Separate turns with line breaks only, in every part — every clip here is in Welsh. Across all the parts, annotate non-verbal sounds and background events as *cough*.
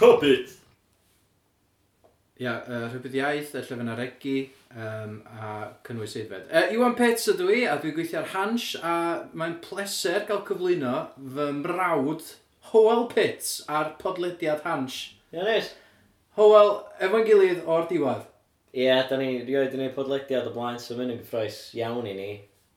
o byd.
Ia, uh, rhywbeth iaith, y llyfn ar egi, um, a cynnwys eidfed. Uh, Iwan Pets ydw i, a dwi'n gweithio ar Hans, a mae'n pleser gael cyflwyno fy mrawd Howell Pits ar podlediad Hans.
Ie, neis.
Howell, efo'n gilydd o'r diwedd.
Ie, da ni rioed yn gwneud podlediad o blaen, so mae'n gyffroes iawn i ni.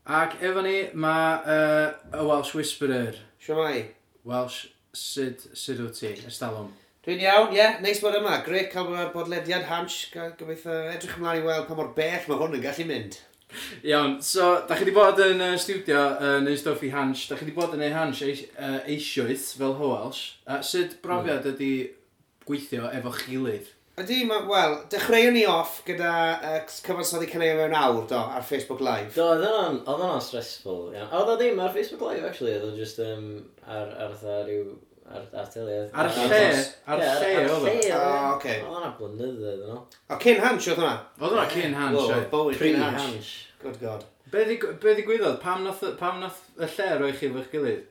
Ac efo ni mae uh, y Welsh Whisperer.
Siwmai.
Welsh, sud, sud wyt ti, Estalwm?
Dwi'n iawn, ie, yeah, neis bod yma. Greg cael bod bodlediad hans, Ga- gobeithio edrych ymlaen i weld pa mor bell mae hwn yn gallu mynd.
Iawn, so, da chi wedi bod yn uh, studio yn uh, neud stwff i Hans, da chi wedi bod yn neud Hans eis, uh, eisioeth fel Howells. Uh, sut brofiad ydi gweithio efo chilydd?
Ydy, ma- wel, dechreuwn ni off gyda uh, cyfansoddi cynnig mewn awr, do, ar Facebook Live.
Do, oedd hwnna'n oedd hwnna'n stressful. iawn. A Oedd o ddim ar Facebook Live, actually, oedd o just um, ar, ar fatha rhyw... Ar, ar teliad.
Ar y
Ar
lle,
Hans.
ar y lle oedd o.
o.
O, oce.
Oedd hwnna blynyddoedd yn ôl.
O, cyn hans oedd hwnna?
Oedd hwnna cyn Hans,
Wel,
oedd?
Bowie, cyn hans.
Pre-Hansh.
Good god.
Be ddig- be ddigwyddodd? Pam nath, y- pam nath y lle roi chi efo'ch gilydd?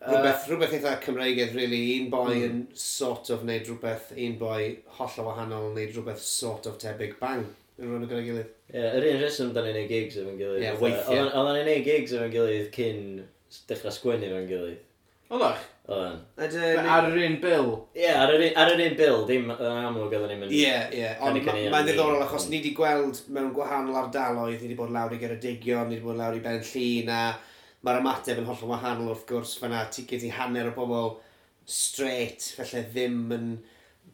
Rhywbeth, rhywbeth eitha Cymreigedd, really. Un boi yn sort of neud rhywbeth, un boi holl o wahanol yn neud rhywbeth sort of tebyg. Bang! Yn rhywun yn gyda'i gilydd.
Ie, yr un reswm da ni'n ei gigs efo'n gilydd.
Ie,
Fatha,
weithiau.
Oedden oedden ni'n ei gigs efo'n gilydd cyn s- dechrau sgwennu efo'n gilydd.
Oedd o'ch?
Oedden.
Ydyn...
Ar yr un bil?
Ie, ar yr un- ar yr un bil, dim yn amlwg oedden ni'n mynd.
Ie, ie. Ond
Cynnig yn
ma-
iawn
mae'n
i-
ddiddorol achos ni wedi gweld mewn gwahanol ardaloedd, ni wedi bod lawr i Geredigion, ni wedi bod lawr i Ben Llun a mae'r ymateb yn hollol wahanol wrth gwrs. Fyna ti gyd i hanner o bobl straight, felly ddim yn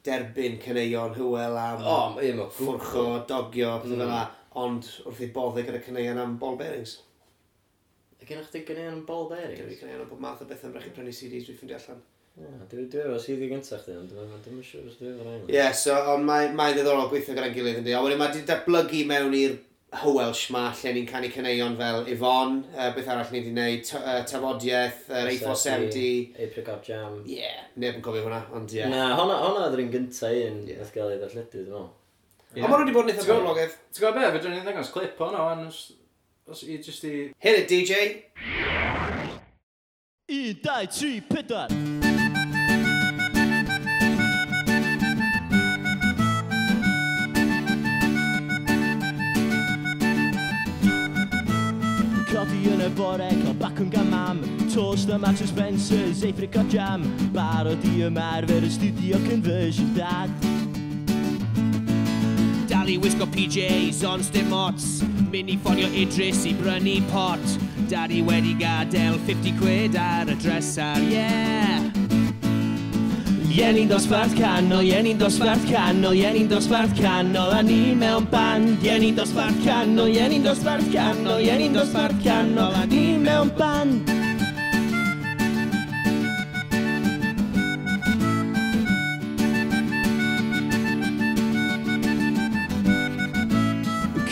derbyn caneuon hywel am
O, ie, mae'n
ffwrcho, dogio, pethau fel yna. Ond wrth i boddau gyda caneuon am ball bearings.
Gynna chdi gynnu yn bol
Gyda fi
bearings?
caneuon am bob math o bethau am rhaid i prynu CDs dwi'n ffeindio allan.
Ie, dwi dwi efo CD gyntaf chdi, ond dwi'n dwi'n siŵr os dwi efo'r
Ie,
ein.
yeah, so ond mae, mae ddiddorol gweithio gyda'n gilydd yndi. A wedyn mae wedi datblygu mewn i'r Hywelsh ma, lle ni'n canu cyneuon fel Yvonne, uh, beth arall ni wedi gwneud, t- uh, tafodiaeth, yr uh, A470. Ie,
Apricot Jam.
yeah, neb yn cofio hwnna, ond ie. Yeah.
Na, honna honna oedd yr un gyntaf un
Ie.
nath gael ei ddarlledu,
Ond
dwi'n meddwl.
maen nhw wedi bod yn eitha
Ti'n gwbo-
boblogaidd.
Ti'n gwybod be, fe dwi'n ei ddangos clip o'n o'n os... Os i jyst i...
Hyn y DJ.
一代去配段。Codi yn y bore, cael bacwn gan mam Toast a Marks and Spencer's, eifric o jam Barod i ymarfer y studio conversion dad
Dal i wisgo PJs ond dim ots Mynd i ffonio Idris i brynu pot Daddy wedi gadael 50 quid ar y dresar, yeah!
Ie ni'n dosbarth canol, ie ni'n dosbarth canol, ie ni'n dosbarth canol A ni mewn band, ie ni'n dosbarth canol, ie ni'n dosbarth canol, ie ni'n dosbarth canol A ni mewn band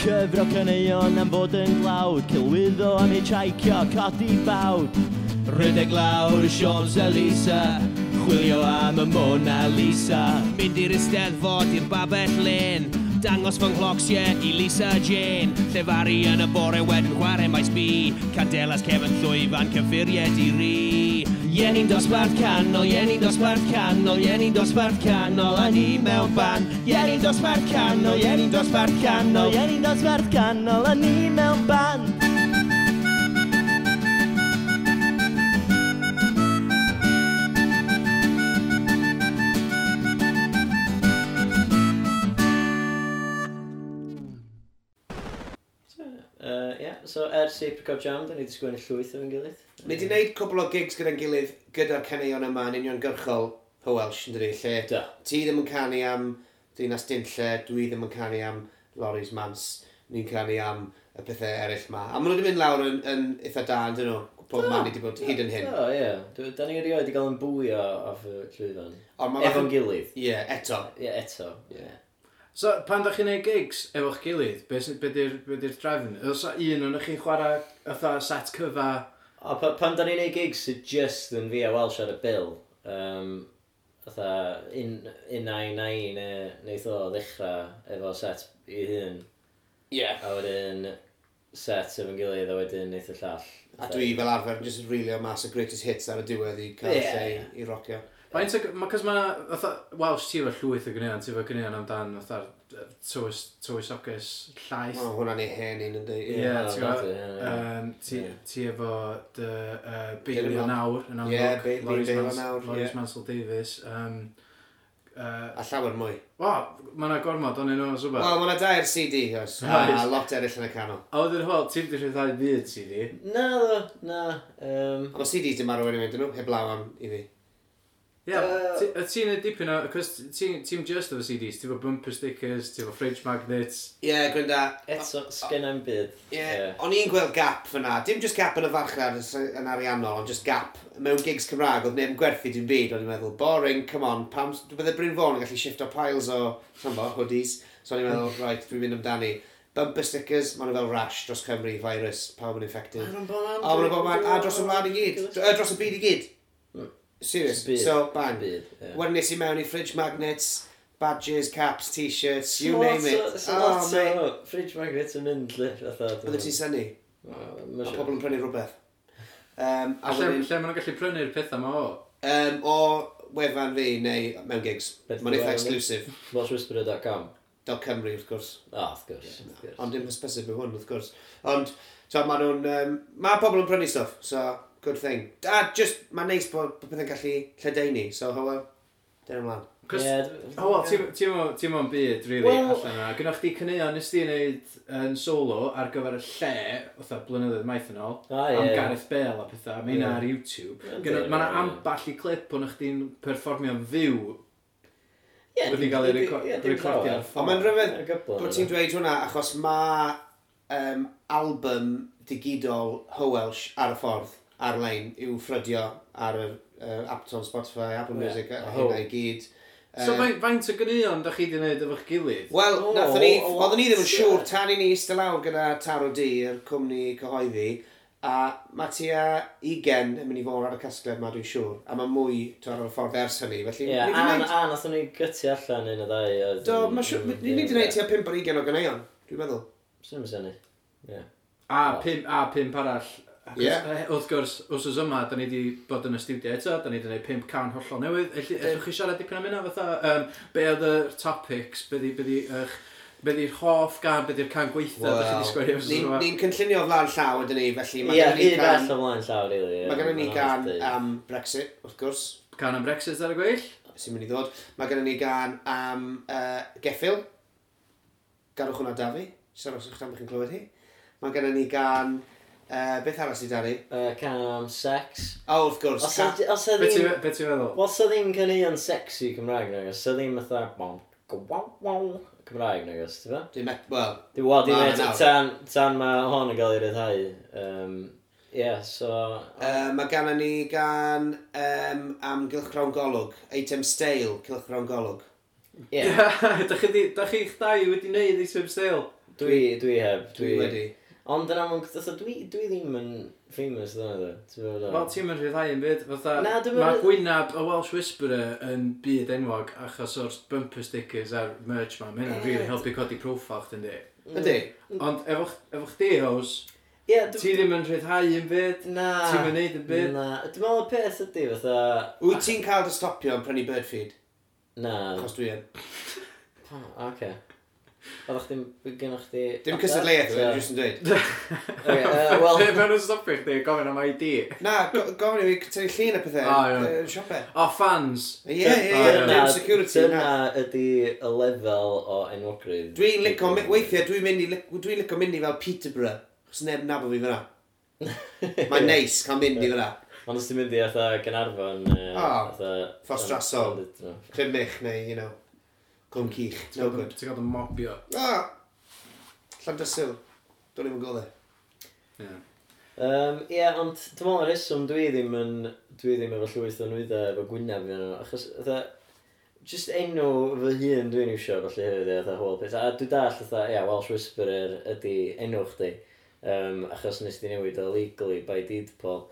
Cyfro cyneuon am fod yn glawd Cilwyddo am hitchhikio, codi bawd Rydeg lawr y Sions a Lisa Chwilio am y Mona Lisa
Mynd i'r Eisteddfod i'r Babell Lane Dangos fy nghlocsiau i Lisa Jane Llefaru yn y bore wedyn chwarae maes bi Candelas Kevin Llwyfan cyffuriau di ri
Ie ni'n dosbarth canol, ie ni'n dosbarth canol, ie ni'n dosbarth canol A ni mewn ban Ie ni'n dosbarth canol, ie ni'n dosbarth canol Ie ni'n dosbarth canol, a ni mewn ban
Yy, Ie, Uh, so ers Apricot Jam, da ni wedi sgwennu llwyth efo'n gilydd.
Ni wedi gwneud cwbl o gigs gyda'n gilydd gyda'r caneuon yma yn uniongyrchol Hywelsh, yn dydi, lle
Do.
ti ddim yn canu am Dinas Dinlle, dwi ddim yn canu am Loris Mans, ni'n canu am y pethau eraill ma. A maen nhw wedi mynd lawr yn, yn eitha da, yn dyn nhw, bob man wedi bod hyd yn hyn.
O, ie. Dwi- Da ni erioed wedi cael yn bwyo off y llwyfan.
Ond ma'
Efo'n
bach-
gilydd.
Ie, eto.
Ie, eto. Ie.
So, pan da chi'n neud gigs efo'ch gilydd, be sy- be di'r be di'r drefn? Os o un o'n chi'n chwarae fatha set cyfa...
O, pa- pan da ni'n ei gigs sydd just yn fi a Welsh ar y bil, um, fatha un- un ai nai neu neith o ddechrau efo set i hun,
Ie.
a wedyn set efo'n gilydd, a wedyn neith y llall.
A dwi fel arfer yn just rili o mas y greatest hits ar y diwedd i cael
Ie.
lle i- i rocio.
Mae'n teg... Mae cos mae... Fatha... Welsh ti efo llwyth o gyneuon, ti efo gyneuon amdan fatha'r tywys, tywys ogus llaeth.
O, hwnna'n ei hen un yn dweud.
Ie,
Ie.
ti'n
Oh, that's it,
gwbod,
yeah, yeah.
yym, ti-
Yeah.
ti efo dy uh, Bailey
Dylan
o
Mans-
nawr yn
Ie,
amlwg,
Bailey
Loris
Bailey o
Mans-
nawr,
Loris
ie.
Mansell Davies. yym, yy,
A llawer mwy.
O, mae yna gormod o'n nhw, sy'n
Wel, mae yna dair CD, oes.
Oes.
A lot eraill yn y canol.
A wedyn hwyl, ti'n ddechrau ddau byd ti di?
Na, ddo, na. Um,
Ond o CDs dim arwain i mynd yn nhw, heb law am i fi.
Ie,
Yy.
ti- y ti'n neud dipyn o, cos ti'n ti'n just efo CDs, ti'n efo bumper stickers, ti'n efo fridge magnets.
Ie, gwrnda.
eto, sgen i'm byd.
Ie, o'n i'n gweld gap fyna. Dim just gap yn y farchnad yn- yn ariannol, ond just gap mewn gigs Cymraeg. Oedd neb yn gwerthu dim byd, o'n i'n meddwl, boring, come on, pam... Dwi'n byddai Bryn Fawn yn gallu shifto piles o, sa'n bo, hoodies. So o'n i'n meddwl, right, dwi'n mynd amdani. Bumper stickers, maen nhw fel rash dros Cymru, virus, pawb yn infected. O, maen nhw bod man, a dros y wlad i gyd. Dr- yy, Dros y byd i gyd. Hmm. Serious.
Byd.
So, bang.
Byd, ie.
Wedyn nes i mewn i fridge magnets, badges, caps, t-shirts, you name it. Ah,
Oh,
mate.
mate. Fridge magnet yn mynd, lle, fatha.
Bydde ti'n synnu?
Mae
Mae pobl yn prynu rhywbeth. Um, a
A lle,
wedyn,
lle maen nhw'n gallu prynu'r pethau ma o?
um, o wefan fi neu mewn gigs,
Beth
mae'n eitha
wefan fi?
exclusive.
Welshwhisperer.com.
Del Cymru, wrth gwrs.
Ah, wrth gwrs, wrth gwrs.
Ond dim yn specif yw hwn, wrth gwrs. Ond, so, mae nhw'n... Um, mae pobl yn prynu stuff, so, good thing. A just, mae'n neis bod bod pethau'n gallu lledaenu, so, hwyl, dyn ymlaen.
Cos,
Ie,
yeah,
d-
o, ti'n ti'n mewn byd, really,
Wel-
allan yna. Gynnwch chdi cyneuon nes ti'n neud yn solo ar gyfer y lle, fatha blynyddoedd maith yn ôl,
Ah,
am
ie.
Gareth Bale a pethau, mae hynna
Ie.
ar YouTube.
Yndi,
Mae yna
ie.
amball i clip o'n chdi'n perfformio'n fyw
Ie,
wedi
dim-
cael ei
dim-
reco-
ie, dim
recordio
llawer.
ar
Ond
ffôn.
mae'n rhyfedd
Mae'n gyflym,
bod ti'n
yna.
dweud hwnna, achos mae um, album digidol Howelsh ar y ffordd, ar-lein, i'w ffrydio ar yr uh, Apton, Spotify, Apple
Ie.
Music, a
A
hynna
How-
i gyd.
So fain- faint o gyneuon da chi di wneud efo'ch gilydd?
Wel,
O,
nath ni,
o,
oedden ni ddim yn
what?
siŵr tan i ni eistedd lawr gyda Taro D, yr cwmni cyhoeddi, a mae tua 20 yn mynd i fod ar y casgliad yma, dwi'n siŵr, a mae mwy t'o' ar y ffordd ers hynny, felly...
Ie,
ni 'di
a,
neud-
a nath ni gytu allan un o ddau. oedd
Do,
yn-
mae siŵr,
yn-
ni'n mynd i
ie.
wneud tua 5 ar 20 o ganeion, dwi'n meddwl.
Swn i'n synnu. Ie.
A pum, a pump arall. Achos,
Ie.
eh, Wrth gwrs, wrth yma, da ni wedi bod yn y studio eto, da ni wedi gwneud pimp can hollol newydd. Elli- Ellwch chi siarad dipyn am hynna fatha? Um, be oedd y topics? Be di, be di, eich, be di'r hoff gan, be di'r can gweitha? Well, da chi wedi sgwerio wrth
ni'n
yma.
ni'n cynllunio o flaen llaw ydyn ni, felly mae
Ie,
gennyn ni
un
gan...
bell o flaen llaw, rili. ie.
Mae gennym ni
Mae'n
gan
hawdd
am Brexit, wrth gwrs,
Can am Brexit ar y gweill?
sy'n mynd i ddod. Mae gennym ni gan am uh, geffil. Garwch hwnna da fi. Sa'n rhaid chi'n chi'n clywed hi. Mae gennym ni gan... Uh, beth arall sydd da ni?
deud. Yy, Can am sex.
O, wrth gwrs.
Os
ca-
ydi- os ydi-
Be ti- be ti'n feddwl?
Wel, sa ddim cynnion sexy Cymraeg nag os, sa ddim fatha bom, gwaw, waw, Cymraeg nag os, ti fe?
Dwi'n met... Wel,
Di wad i
Ma'
wneud
na nawr.
tan, tan mae hon yn cael ei ryddhau. Um, Ie, yeah, so...
uh, mae gennym ni gan um, am gylchgrawn golwg. Eitem steil, gylchgrawn golwg.
*laughs*
Ie, yeah,
Da chi di- da chi'ch dau wedi gwneud i Tim Stale?
dwi, dwi heb.
Dwi wedi.
Ond yn amlwg, fatha, dwi, dwi ddim yn famous ddyn nhw, ti'n fawr
Wel, ti'n mynd rhyddhau yn byd, fatha,
Na, dwi'm yn-
mae gwynab y Welsh Whisperer yn byd enwog achos o'r bumper stickers a'r merch ma, mae hynna'n
Ie.
really helpu codi profile chdi'n di.
Ydy?
Ond efo, ch- efo chdi, Hws,
Mm. Ie,
ti
dwi...
ddim yn rhyddhau yn byd,
Na.
ti'm yn neud y byd.
Na. Dwi'n meddwl y peth ydi, fatha...
Wyt ti'n cael dy stopio yn prynu bird feed?
Na.
Achos dwi yn.
Pa, oce. Oeddech chdi'n... Gynnwch chdi...
Dim cysadleuaeth,
Ie.
dwi'n jyst yn dweud.
Oce, yy,
*laughs*
wel...
Fe mewn yn stopio chdi, gofyn am ID.
Na, go- gofyn i fi tynnu llun y pethau.
O, iawn.
Yy, siopau.
O, fans!
Ie, ie,
O,
ie,
iawn.
dim security
dyna
na.
ydi y lefel o enwogrydd.
Dwi'n licio, my- weithiau dwi'n mynd i, lic- dwi'n licio mynd i fel Peterborough, chos neb yn nabod fi fyna.
*laughs*
Mae'n neis cael mynd i fyna.
Ond os ti'n mynd i atha Gynarfon... Uh,
O,
atha,
Fforstrasol. Crymich neu, you know, Cwm Cich. No
Ti'n
good.
gael dy mobio.
Ah! Llandysil. Dwi'n ddim yn gweld e.
Ie.
Um, Ie, yeah, ond dwi'n meddwl y rheswm dwi ddim yn... Dwi ddim efo llwyth o nwyddau efo gwynaf yn nhw. Achos, atha... Just enw fy hun dwi'n iwsio felly hefyd, ie, atha hwyl peth. A dwi dall, atha, ia, Welsh Whisperer ydi enw chdi. Um, achos nes di newid o legally by deed poll.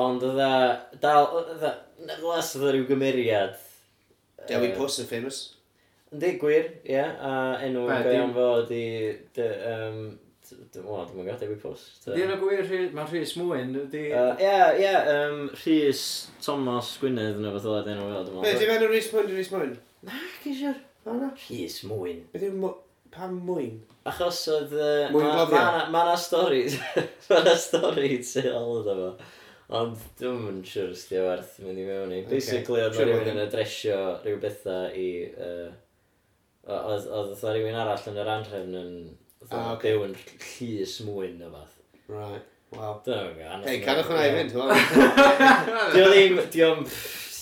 Ond atha, dal, atha, na glas atha rhyw gymeriad.
Dewi
Yy,
Puss yn famous.
Yndi, gwir, ie, a enw
Be,
go iawn
dim-
fo ydi, dy- yym, Dwi'n mwyn, dwi'n mwyn gadw i post.
Di yna gwir, Rhy- mae'n Rhys Mwyn, ydi...
Ie, ie, yym, Rhys Thomas Gwynedd neu beth oedd enw fel, dwi'n
Be,
meddwl.
ti'n meddwl Rhys Mwyn, Rhys Mwyn? Na, gysio. O na.
Rhys Mwyn.
Beth yw mw- pam mwyn?
Achos oedd... yy,
Mwyn
ma-
gloddio.
ma' 'na- Ma' na storis. *laughs* Ma' na storis sy'n hal oedd efo. Ond dwi'n yn siŵr os di'n werth mynd i mewn i.
Ocê.
Basically, oedd
Siŵr
na
bod
rhywun
ddim.
yn adresio rhyw bethau i... yy, o- Oedd oedd fatha rhywun arall yn yr anrhefn yn...
Ah,
fatha
ocê.
Byw yn Rhys Mwyn neu beth.
Right, wow.
Dyna fe.
Hei, cadwch hwnna i fynd, hwn.
Dio ddim, dio ddim...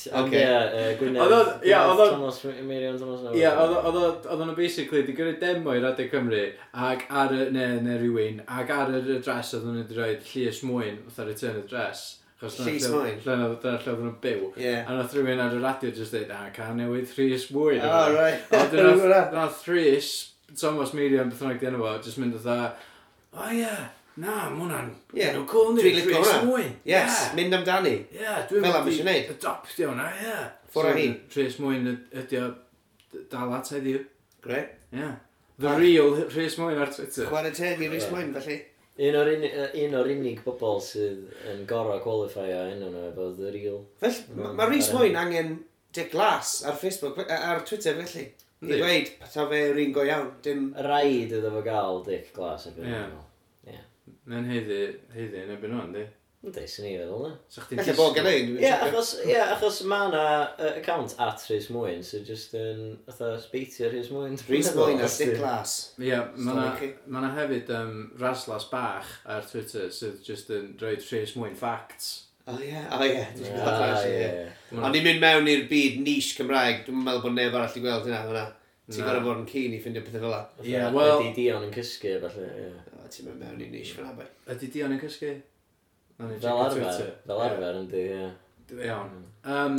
Ocê.
Ocê. Gwynedd.
Oedd o- ie, oedd o-
Thomas, Miriam Thomas.
Ie, oedd o- oedd o- oedd o'n basically wedi gyrru demo i Radio Cymru ac ar y, neu, neu rhywun, ac ar yr adres oedd nhw wedi rhoi Llys Mwyn, fatha return address. achos dyna
Llys
lle-
Mwyn?
Lle oedd lle oedd nhw'n byw.
*laughs* Ie.
A nath rhywun ar y radio jyst dweud, a ca newydd Rhys Mwyn.
O, right.
A wedyn nath- nath Rhys, Thomas Miriam, beth bynnag di enw fo, jyst mynd oedd o ie, na, mae hwnna'n
Ie,
nhw'n cool ni,
Dwi'n licio
Rhys
hwnna.
Mwyn.
Yes,
Ie.
mynd amdani.
Ie, dwi'n
Fel am isio neud.
Adopt hwnna, ie.
Ffwrdd â hi.
Rhys Mwyn y- ydi o d- dal at heddiw.
Gret.
Ie. The real Rhys Mwyn ar Twitter.
Chwarae teg i Rhys Mwyn, felly.
Un o'r, uni- yy, un o'r unig bobl sydd yn gorau qualify a hyn nhw efo The Real.
Fel, ma- ma' Rhys Mwyn angen Dick Glass ar Facebook, fe- a- ar Twitter felly. I
Yndi.
dweud, ta fe yw'r un go iawn, dim...
Rhaid iddo fo gael Dick Glass yn
Ie.
yeah.
Mae'n heiddi, heiddi yn ebyn o'n, di.
Yn deis yn ei feddwl, ne?
Sa'ch chdi'n
Felly bod gen i,
Ie, achos, ie, achos mae yna uh, account at Rhys Mwyn sydd jyst yn fatha sbeitio Rhys Mwyn.
Rhys Mwyn a Dick
Dwi'n meddwl,
Glass.
Ie,
Stori
mae yna hefyd um, raslas bach ar Twitter sydd jyst yn rhoi Rhys Mwyn facts.
O ie, o ie,
os
dwi'n
di-
gwybod
Ah,
Glass, ie.
ie.
Ma'
Ond ni'n mynd mewn i'r byd niche Cymraeg, dwi'n meddwl bod neb arall i gweld hynna hwnna. Ti'n
Na.
gorau bod yn keen i ffindio pethau fel la.
Ie,
Fatha,
wel-
Ydy Dion yn cysgu, falle, ie.
O, Ti'n mynd mewn i niche fel bai.
Ydi Dion yn cysgu? Nawn ni
Fel
checio
arfer,
Twitter.
fel arfer, yndi, ie.
Ie, Iawn. Um,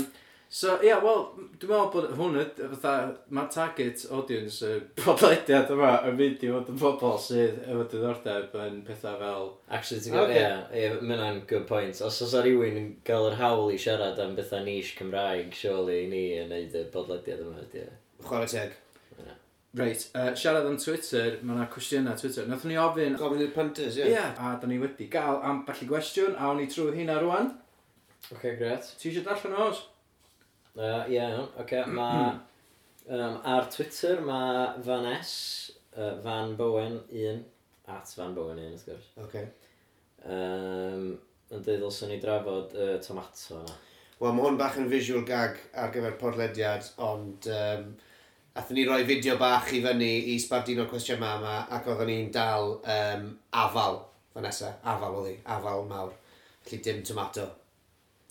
so, ie, yeah, wel, dwi'n meddwl bod hwn, y- fatha, mae target audience y *laughs* podlediad yma yn mynd i fod yn bobl sydd efo diddordeb yn pethau fel
Actually, ti'n gwybod,
Ocê.
ie, ie, mae hwnna'n good point. Os oes rhywun yn cael yr hawl i siarad am bethau nish Cymraeg, surely ni yn neud y bodlediad yma, e? ie.
Chwarae teg.
Reit, uh, siarad am Twitter, mae yna cwestiynau Twitter. Nathon ni ofyn...
Gofyn i'r punters,
Ie,
ie.
yeah. a da ni wedi gael ambell i gwestiwn, a o'n i trwy hynna rwan.
Ok, gret.
Ti eisiau darllen o os?
Ie, uh, iawn, ok, mae... Um, ar Twitter mae Van S, uh, Van Bowen 1, at Van Bowen 1, wrth gwrs.
Oce.
Um, yn dweud ddylswn ni drafod uh, tomato yna.
Wel, mae hwn bach yn visual gag ar gyfer podlediad, ond um, athyn ni roi fideo bach i fyny i sbardun o'r cwestiwn yma, yma ac oedden ni'n dal um, afal, Vanessa, afal oedd hi, afal mawr. Felly dim tomato.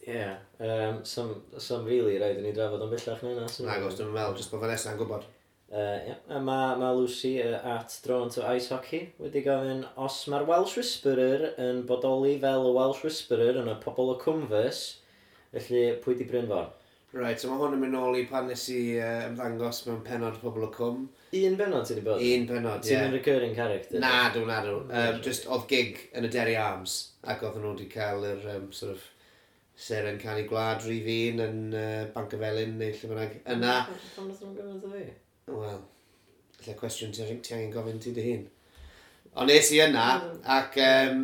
Ie. Yeah. Um, some, some really rhaid i ni drafod yn bellach na yna.
Nag oes, dwi'n meddwl, jyst bod Vanessa'n gwybod.
Uh, yeah. a mae ma Lucy uh, at Drawn to Ice Hockey wedi gofyn os mae'r Welsh Whisperer yn bodoli fel y Welsh Whisperer yn y pobl o Cwmfys felly pwy di Bryn Fon?
Right, so mae hwn yn mynd nôl i pan nes i uh, ymddangos mewn penod pobl o cwm.
Un benod ti wedi bod?
Un penod, ie.
Ti'n yeah. recurring character?
Na, dwi'n nadw. Um, just oedd gig yn y Derry Arms, ac oedden nhw wedi cael yr um, sort of seren canu gwlad rhif un yn uh, Bancafelin neu lle bynnag yna.
Pam nath nhw'n gofyn wrtho fi?
Wel, lle cwestiwn ti ti angen gofyn ti dy hun. Ond nes i yna, ac um,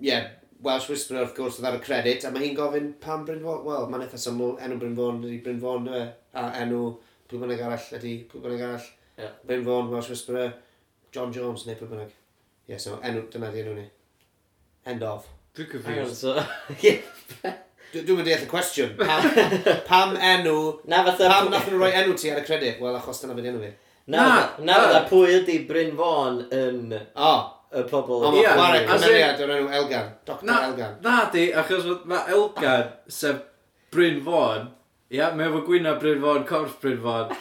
yeah, Welsh Whisperer wrth gwrs oedd ar y credit, a mae hi'n gofyn pam Bryn Fôn, wel, mae'n eitha syml, enw Bryn Fôn ydi Bryn Fôn, dwi, a enw pwy bynnag arall ydi, pwy bynnag arall,
Ie.
Bryn Fôn, Welsh Whisperer, John Jones, neu pwy bynnag. Ie, yeah, so enw, dyna di enw ni. End of.
Dwi'n
Hang on,
confused.
so...
Dwi- Dwi'n mynd i eithaf cwestiwn, pam, pam enw,
Na fatha...
pam nath nhw roi enw ti ar y credit, wel, achos dyna fydd enw fi.
Na,
Na,
na fatha
na.
pwy ydi Bryn Fon yn y
O, oh,
pobl
O,
Ie,
mae chwarae
as in-
cymeriad o'r enw Elgan. Dr
Na,
Elgan.
na di, achos fod- mae Elgan, sef Bryn Fôn, ia, yeah, mae efo gwyna Bryn Fôn, corff Bryn Fôn.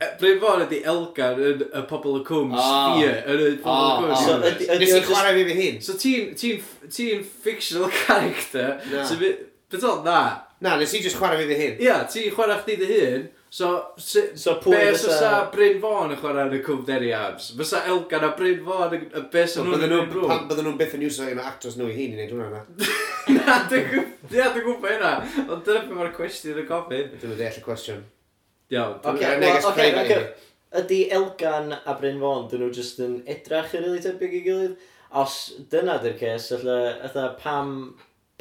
E, Bryn Fôn ydi Elgan yn y pobl y cwm
O.
sphere, yn y
O,
pobl
o.
y
Ah. So
cwm
ydi-
sphere.
ydi
Ah, Nes
o
i
jyst-
chwarae fi fy hun.
So ti'n ti ti fictional *laughs* character,
Na.
so fi- beth oedd na?
Na, nes i just chwarae fi fy hun.
Ia, ti'n chwarae chdi dy hun, so... Si,
So
Be
pwy
os fysa
fysa...
Bryn Fawn yn chwarae yn y Cwm Derry Arms? Fysa Elgan a Bryn Fawn yn y bes
So
yn
bydden
nhw'n
nhw,
rhywun?
pan bydden nhw'n byth yn iwsio un o actors nhw i hun i wneud hwnna na.
*laughs* Na, dwi'n gw- ia, dwi'n gwybod hynna. Ond dyna beth mae'r cwestiwn yn gofyn.
Dwi'n mynd i all y cwestiwn.
Iawn.
Ocê,
dwi'n-
neges
well, ocê,
private i
ocê.
ni.
Yy, ydy Elgan a Bryn Fôn, dyn nhw jyst yn edrach yn rili tebyg i gilydd? Os dyna dy'r ces, ytha pam,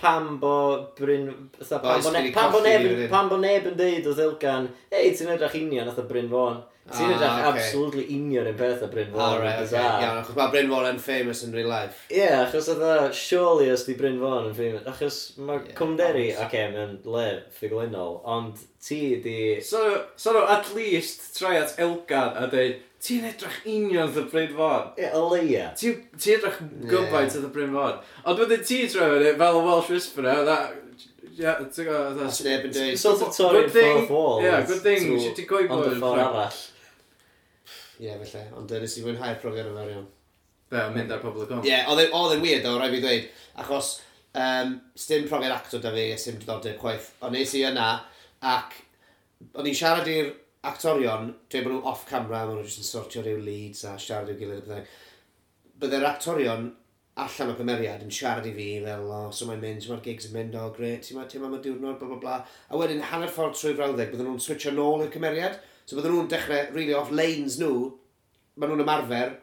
pam bo Bryn... Ytha, pam,
Oes,
bo
dwi
ne,
'di
pam, bo
colli
neb,
rywun.
yn- pam bo neb yn deud oedd Elgan, hei, ti'n edrach union ytha Bryn Fôn. Ti'n
Ah,
edrach
ocê.
absolutely union yn beth a Bryn Fôn.
All
yn
right, okay.
bizarre.
Iawn, achos mae Bryn Fawr yn famous in real life.
Ie, yeah, achos oedd surely os di Bryn Fôn yn ffilm, achos mae
Ie,
yeah, Cymderi,
ond-
oce, okay, mae'n le ffiglinol, ond ti di...
So, so no, at least try at Elgan a dweud, ti'n edrych union the Bryn Fon.
Ie, o leia.
Ti'n ti edrych gyfaint yeah. y Bryn Fon. Ond wedyn ti troi fyny fel y Welsh Whisperer, that... Yeah, ti'n gwybod,
Os neb yn dweud,
Sort of torri'r
Good thing-
fourth wall.
yeah, good thing,
to-
nes i di goibio
Ond y
yn
ffordd
Ffrainc.
arall.
ie, felly, ond yy, nes i fwynhau'r profiad yma iawn.
Be, mynd ar pobl y gom.
Ie, oedd e'n- oedd yn weird o, rhaid fi ddweud, achos um, sdim profiad actor da fi, sdim diddordeb chwaith, ond nes i yna, ac o'n i'n siarad i'r actorion, dweud bod nhw off camera, maen nhw jyst yn sortio rhyw leads a siarad i'w gilydd a bethau. Byddai'r actorion allan o'r cymeriad yn siarad i fi fel, o, so mae'n mynd, so mae'r gigs yn mynd, o, gret, ti'n meddwl, ti'n meddwl, diwrnod, bla, bla, bla. A wedyn, hanner ffordd trwy frawddeg, bydden nhw'n switcho nôl i'r cymeriad. So bydden nhw'n dechrau, really, off lanes nhw, maen nhw'n ymarfer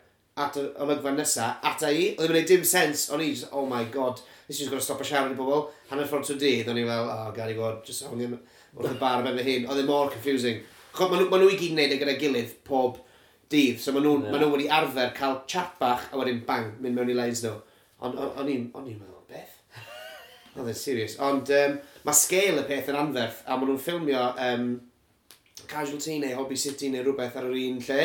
at y olygfa nesa, ata i, oedd yn gwneud dim sens, o'n i just, oh my god, this is gonna stop a siarad i bobl, hanner ffordd trwy dydd, o'n i fel, oh, gari fod, just hwn i'n wrth y bar ben fy hun, oedd e mor confusing. Chod, maen nhw, ma nhw i gyd yn neud e gyda gilydd pob dydd, so maen nhw,
Ie.
yeah. nhw wedi arfer cael chat bach, a wedyn bang, mynd mewn i lines nhw. Ond o- o'n i'n, o'n i'n meddwl, beth? Oedd e'n serious. Ond um, mae scale y peth yn anferth, a maen nhw'n ffilmio um, Casualty neu Hobby City neu rhywbeth ar yr un lle.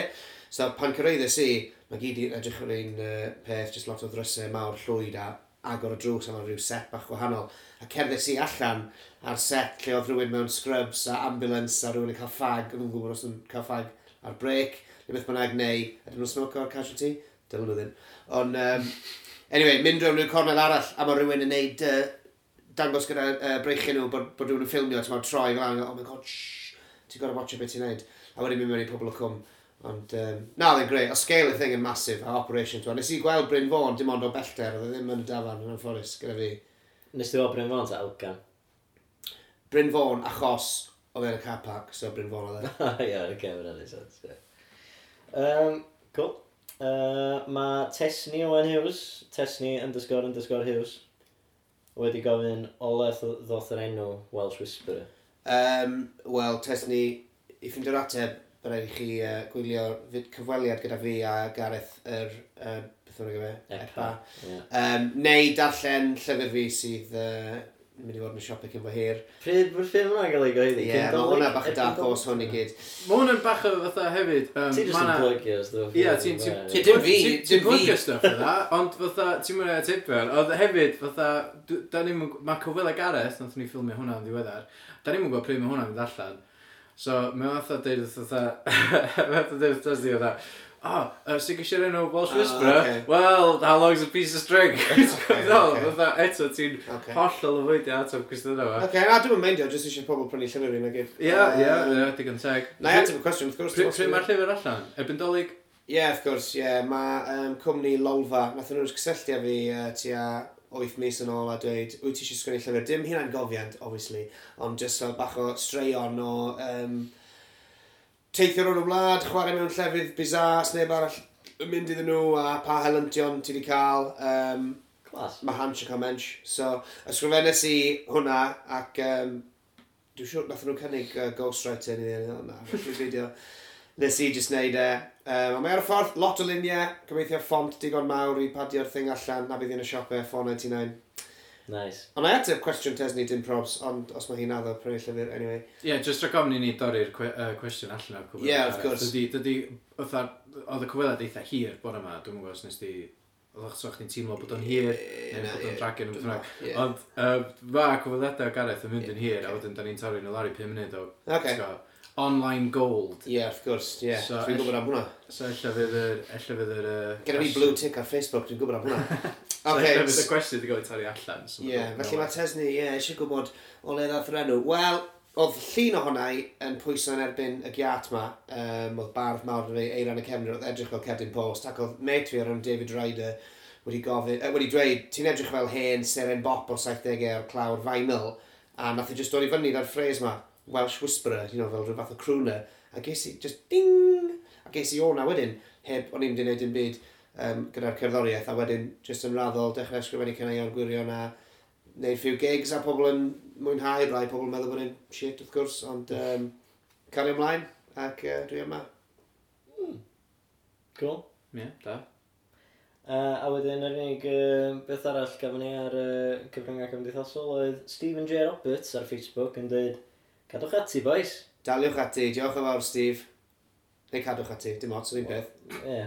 So pan cyrraeddes i, mae gyd i edrych ar un uh, peth, just lot o ddrysau mawr llwyd a agor y drws a mae rhyw set bach gwahanol. A cerddes i allan ar set lle oedd rhywun mewn scrubs a ambulance a rhywun yn cael ffag, yn gwybod os yn cael ffag ar brec, neu beth bynnag neu, ydyn nhw'n smoke o'r casualty? Dylen nhw ddim. Ond, um, anyway, mynd rhywun rhyw cornel arall a mae rhywun yn neud uh, dangos gyda uh, breichyn nhw bod, bod rhywun yn ffilmio, ti'n meddwl troi fel hyn, oh my god, shh, ti'n gorau watcha beth ti'n neud. A wedyn mynd mewn i pobl o cwm. Ond, um, na, oedd yn greu. O scale y thing yn massive, a operation. Twa. Nes i gweld Bryn Fôn, dim ond o bellter, oedd e ddim yn y dafan yn anffodus gyda fi.
Nes ti o Bryn Fôn ta Elgan? *laughs*
Bryn Fôn, achos, oedd e'n y car park, so Bryn Fôn oedd e.
Ie, o'r camera ni sens. ie. Yym, Cool. Yy, Mae Tesni Owen Hughes, Tesni underscore underscore Hughes, wedi gofyn ole th- ddoth yr enw Welsh Whisperer.
Um, Wel, Tesni, i ffindio'r ateb, bydd rhaid i chi uh, gwylio fyd- cyfweliad gyda fi a Gareth yr, uh, beth o'n gyfer?
Epa. Ie.
Um, neu darllen llyfr fi sydd uh, mynd i fod yn y siopau cyn fo hir.
Pryd mae'r ffilm yna'n cael ei gyhoeddi?
Ie, mae hwnna bach y dark horse hwn i gyd.
Mae hwn yn bach o fatha hefyd... yym,
Ti jyst
ma'
yn
na-
plygio stuff.
Ie, ti'n... ti'n-
Ie.
ti'n-
Dim fi,
ti'n-
dim
Ti'n plygio
fi.
stuff yna, ond fatha, ti'n mwyn ei atipio'r. Oedd hefyd, fatha, dw- da ni'n... Mae Cofil a Gareth, nath ni ffilmio hwnna yn ddiweddar, da ni'n gwybod pryd mae hwnna'n mynd allan. So, mae o'n fatha deud wrth fatha... *laughs* Mae o'n deud wrth fatha, fatha, o, oh, sy'n gysio enw Welsh
Ah,
Whisperer?
ocê.
Well, how long's a piece of string? *laughs*
Ocê,
No,
ocê.
fatha, eto ti'n
Ocê.
hollol o fwydio at o'r cwestiynau yma.
Ok, na, dwi'n meindio, jyst eisiau pobl prynu llyfr fi'n agor.
Ie, ie, ie, digon teg.
Na i ateb y cwestiwn, wrth gwrs.
Pryd
dwi'n meddwl-
pryd mae'r llyfr allan? Erbyn dolyg?
Ie, wrth gwrs, ie. Mae um, cwmni Lolfa, nath nhw'n cysylltu â fi uh, tua 8 mis yn ôl a dweud, wyt ti eisiau sgwennu llyfr? Dim hynna'n gofiant, obviously, ond just fel bach o straeon o um, teithio rown y wlad, chwarae mewn llefydd bizars, neb arall yn mynd iddyn nhw a pa helyntion ti wedi cael. Um,
Clas.
Mae Hans yn cael mensch. So, ysgrifennes i hwnna ac um, dwi'n siŵr nath nhw'n cynnig uh, ghostwriter neu ddyn nhw. Na, dwi'n fideo. Nes i jyst neud e. Um, a mae ar y ffordd, lot o luniau, gobeithio ffont digon mawr i padio'r thing allan, na bydd yn y siopau, ffon 99.
Nice.
Ond na i ateb cwestiwn Tesni dim probs, ond os mae hi'n addo prynu llyfr, anyway.
Ie, yeah, jyst rhaid gofyn i ni dorri'r cwe- yy, cwestiwn allan o'r cwbl.
Ie, wrth gwrs.
Dydy, dydy, otha, oedd y cwbl eitha hir bore yma, dwi'n gwybod os nes di, oedd o'ch chdi'n teimlo bod o'n hir,
Ie,
neu
na,
bod
ie.
o'n dragon yn ffrag.
Ie.
Ond, yym, mae cwbledau o Gareth yn mynd yn hir, a wedyn da ni'n torri nhw lari 5 munud o,
Ocê.
ti'n gwbo, online gold.
Ie, yeah, of course, ie. Yeah.
So,
dwi'n
ell-
gwybod am hwnna.
So, ella fydd yr, ella fydd yr... yy,
Gyda fi
cwestiwn-
blue tick ar Facebook, dwi'n gwybod am hwnna.
*laughs* so
Oce,
Ella fydd
s-
y cwestiwn wedi cael ei torri allan. so
Ie,
ma'
felly
nhw'n-
mae Tesni, ie, eisiau gwybod o le ddath yr enw. Wel, oedd llun ohona i yn pwyso yn erbyn y giat ma, um, oedd bardd mawr yn ei eiran y cefnir, oedd edrych fel Cerdyn Post, ac oedd mate fi ar yn David Ryder wedi gofyn, uh, wedi dweud, ti'n edrych fel hen seren bop o'r 70au o'r clawr vinyl, a nath i just dod i fyny da'r ffres ma, Welsh Whisperer, you know, fel rhyw fath o crooner, a ges i just ding, A ges i o na wedyn, heb, o'n i'n mynd i wneud dim byd um, gyda'r cerddoriaeth, a wedyn jyst yn raddol dechrau ysgrifennu caneuon gwirion a wneud few gigs a pobl yn mwynhau, rai pobl yn meddwl bod yn shit wrth gwrs, ond um, cario ymlaen ac uh, dwi yma.
Cool.
Ie, da.
Uh, a wedyn yr unig uh, beth arall gafon ni ar uh, cyfryngau cymdeithasol oedd Stephen J Roberts ar Facebook yn dweud Cadwch ati, boys.
Daliwch ati, diolch yn fawr Steve. Neu cadwch ati, dim ots, yr un peth.
Ie.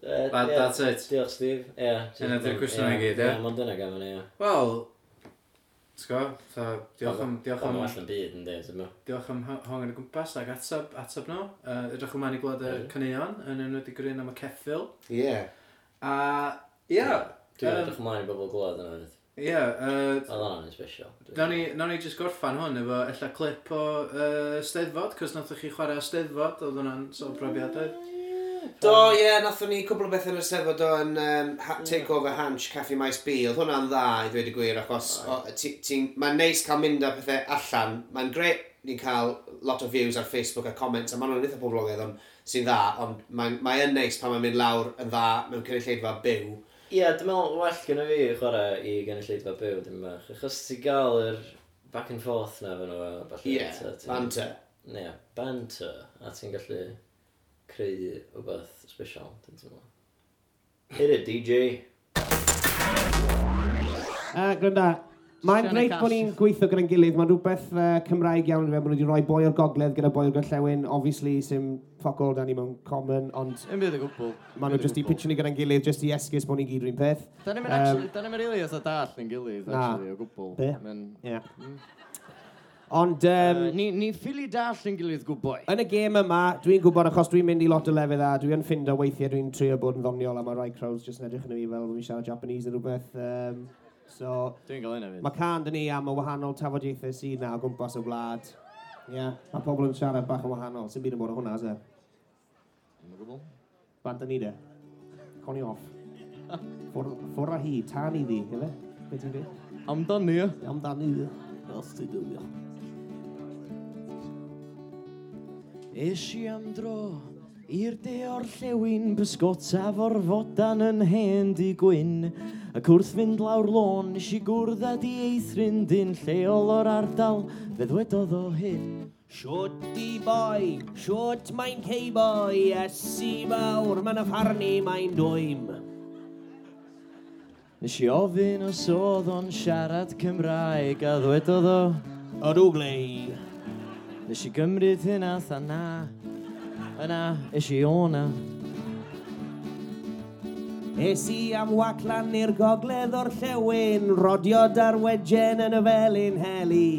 Yy,
That-
ie,
that's it.
Diolch, Steve. Ie.
Dyna di'r cwestiynau i gyd, ie?
Ie, mae'n dyna gafon ni, ie.
Wel, t'go, fatha, diolch am, diolch am,
Mae'n allan byd yn dweud, yma.
diolch am ho- hongen y gwmpas ac atab, atab nhw. Uh, ydych chi'n i gweld y
Ie.
caneuon yn enwedig yr un am y ceffil.
Ie. Yeah.
A, ie,
Dwi'n
yym,
edrych ymlaen i bobl glod yna. hefyd.
ie, yy,
Oedd hwnna'n un special.
Nawn ni, nawn ni just gorffan hwn efo ella clip o uh, Steddfod, cos nathach chi chwarae Steddfod, oedd hwnna'n sôn profiadau.
Do, ie, yeah, nathon ni cwbl o bethau yn y sefod o yn um, ha- Takeover Hunch, Caffi Maes B. Oedd hwnna'n dda i ddweud y gwir, achos o- ti- ti'n- mae'n neis cael mynd â pethau allan. Mae'n gret ni'n cael lot o views ar Facebook a comments, a maen nhw'n eitha poblogaidd ond sy'n dda, ond mae'n mae yn neis pan mae'n mynd lawr yn dda mewn cynulleidfa byw.
Ie, dwi'n meddwl well gyda fi chwarae i gynulleidfa byw, dim bach. Achos ti gael yr back and forth na fan o, falle.
Ie,
ta, ti'n-
banter.
Ie, banter. A ti'n gallu creu rhywbeth special, dwi'n teimlo. Hit it, DJ.
Uh, Gwrnda, mae'n greit bod ni'n gweithio gyda'n gilydd. Mae'n rhywbeth uh, Cymraeg iawn i fe. Mae nhw wedi rhoi boi o'r gogledd gyda boi o'r gorllewin. Obviously, sy'n ffoc all dan ni mewn common, ond
Yn bydd y gwbl.
maen nhw jyst i pitch ni gyda'n gilydd, jyst i esgus bod ni'n gyd rhywun peth.
Da ni'n
Yym,
mynd really oedd a dall yn gilydd,
Na.
actually, o gwbl.
Be?
Ma'n-
Ie. Ond um,
Yy, Ni ni ffili dall yn gilydd gwbl.
yn y gêm yma, dwi'n gwybod achos dwi'n mynd i lot o lefydd a dwi'n ffindo weithiau dwi'n trio bod yn ddoniol a mae rai crowds jyst yn edrych yn y fi fel bod fi'n siarad Japanese neu rhywbeth. Um, so,
Dwi'n gael hynna fyd.
Mae can dyn ni am y wahanol tafodiaethau sydd na o gwmpas y wlad. Ie, yeah. mae pobl yn siarad bach yn wahanol. Sy'n byd yn bod o hwnna, se. Bant yn ni de. Coni off. Ffwr- Ffwrdd â hi, tan i ddi, efe? Be ti'n dweud?
Amdani, ie?
Amdani ddi. Os ti dwi.
Eisi am dro i'r de o'r llewin bysgota forfodan yn hen di gwyn ac wrth fynd lawr lôn nes i gwrdd a di eithrin dyn lleol o'r ardal fe ddwedodd o hyn
Siwt di boi, siwt mae'n cei boi, esi mawr, mae'n affarni, mae'n dwym.
Nes i ofyn os oedd o'n siarad Cymraeg a ddwedodd o
O dwglei.
Nes i gymryd hynna tha na Yna, es i o'na
Esi am waclan i'r gogledd o'r llewn, rodio dar wedjen yn y felin heli.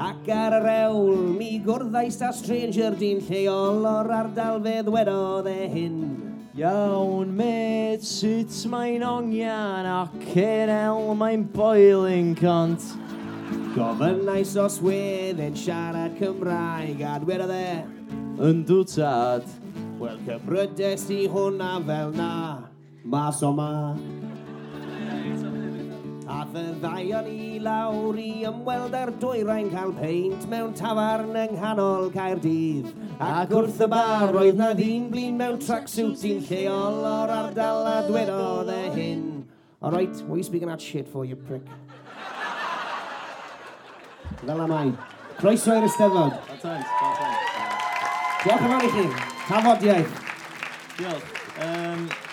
Ac ar yr ewl, mi gwrddais â stranger di'n lleol o'r ardal fe ddwedodd e hyn.
Iawn, med, sut mae'n ongian ac yn el mae'n boiling cont
Gofynnais os wedd e'n siarad Cymraeg, a dwedodd e,
Yn dwtad
Wel, cybrydes i hwnna fel na, mas o ma. Ath y ddau o'n i lawr i ymweld â'r dwyrain cael peint mewn tafarn yng nghanol Caerdydd. Ac wrth y bar oedd na ddyn blin mewn tracksuit i'n lleol o'r ardal a dwedodd e hyn. Alright, what are you speaking that shit for, you prick? Fel am ai. Croeso i'r Eisteddfod. Diolch yn fawr i chi. Tafodiaeth.
Diolch. Um,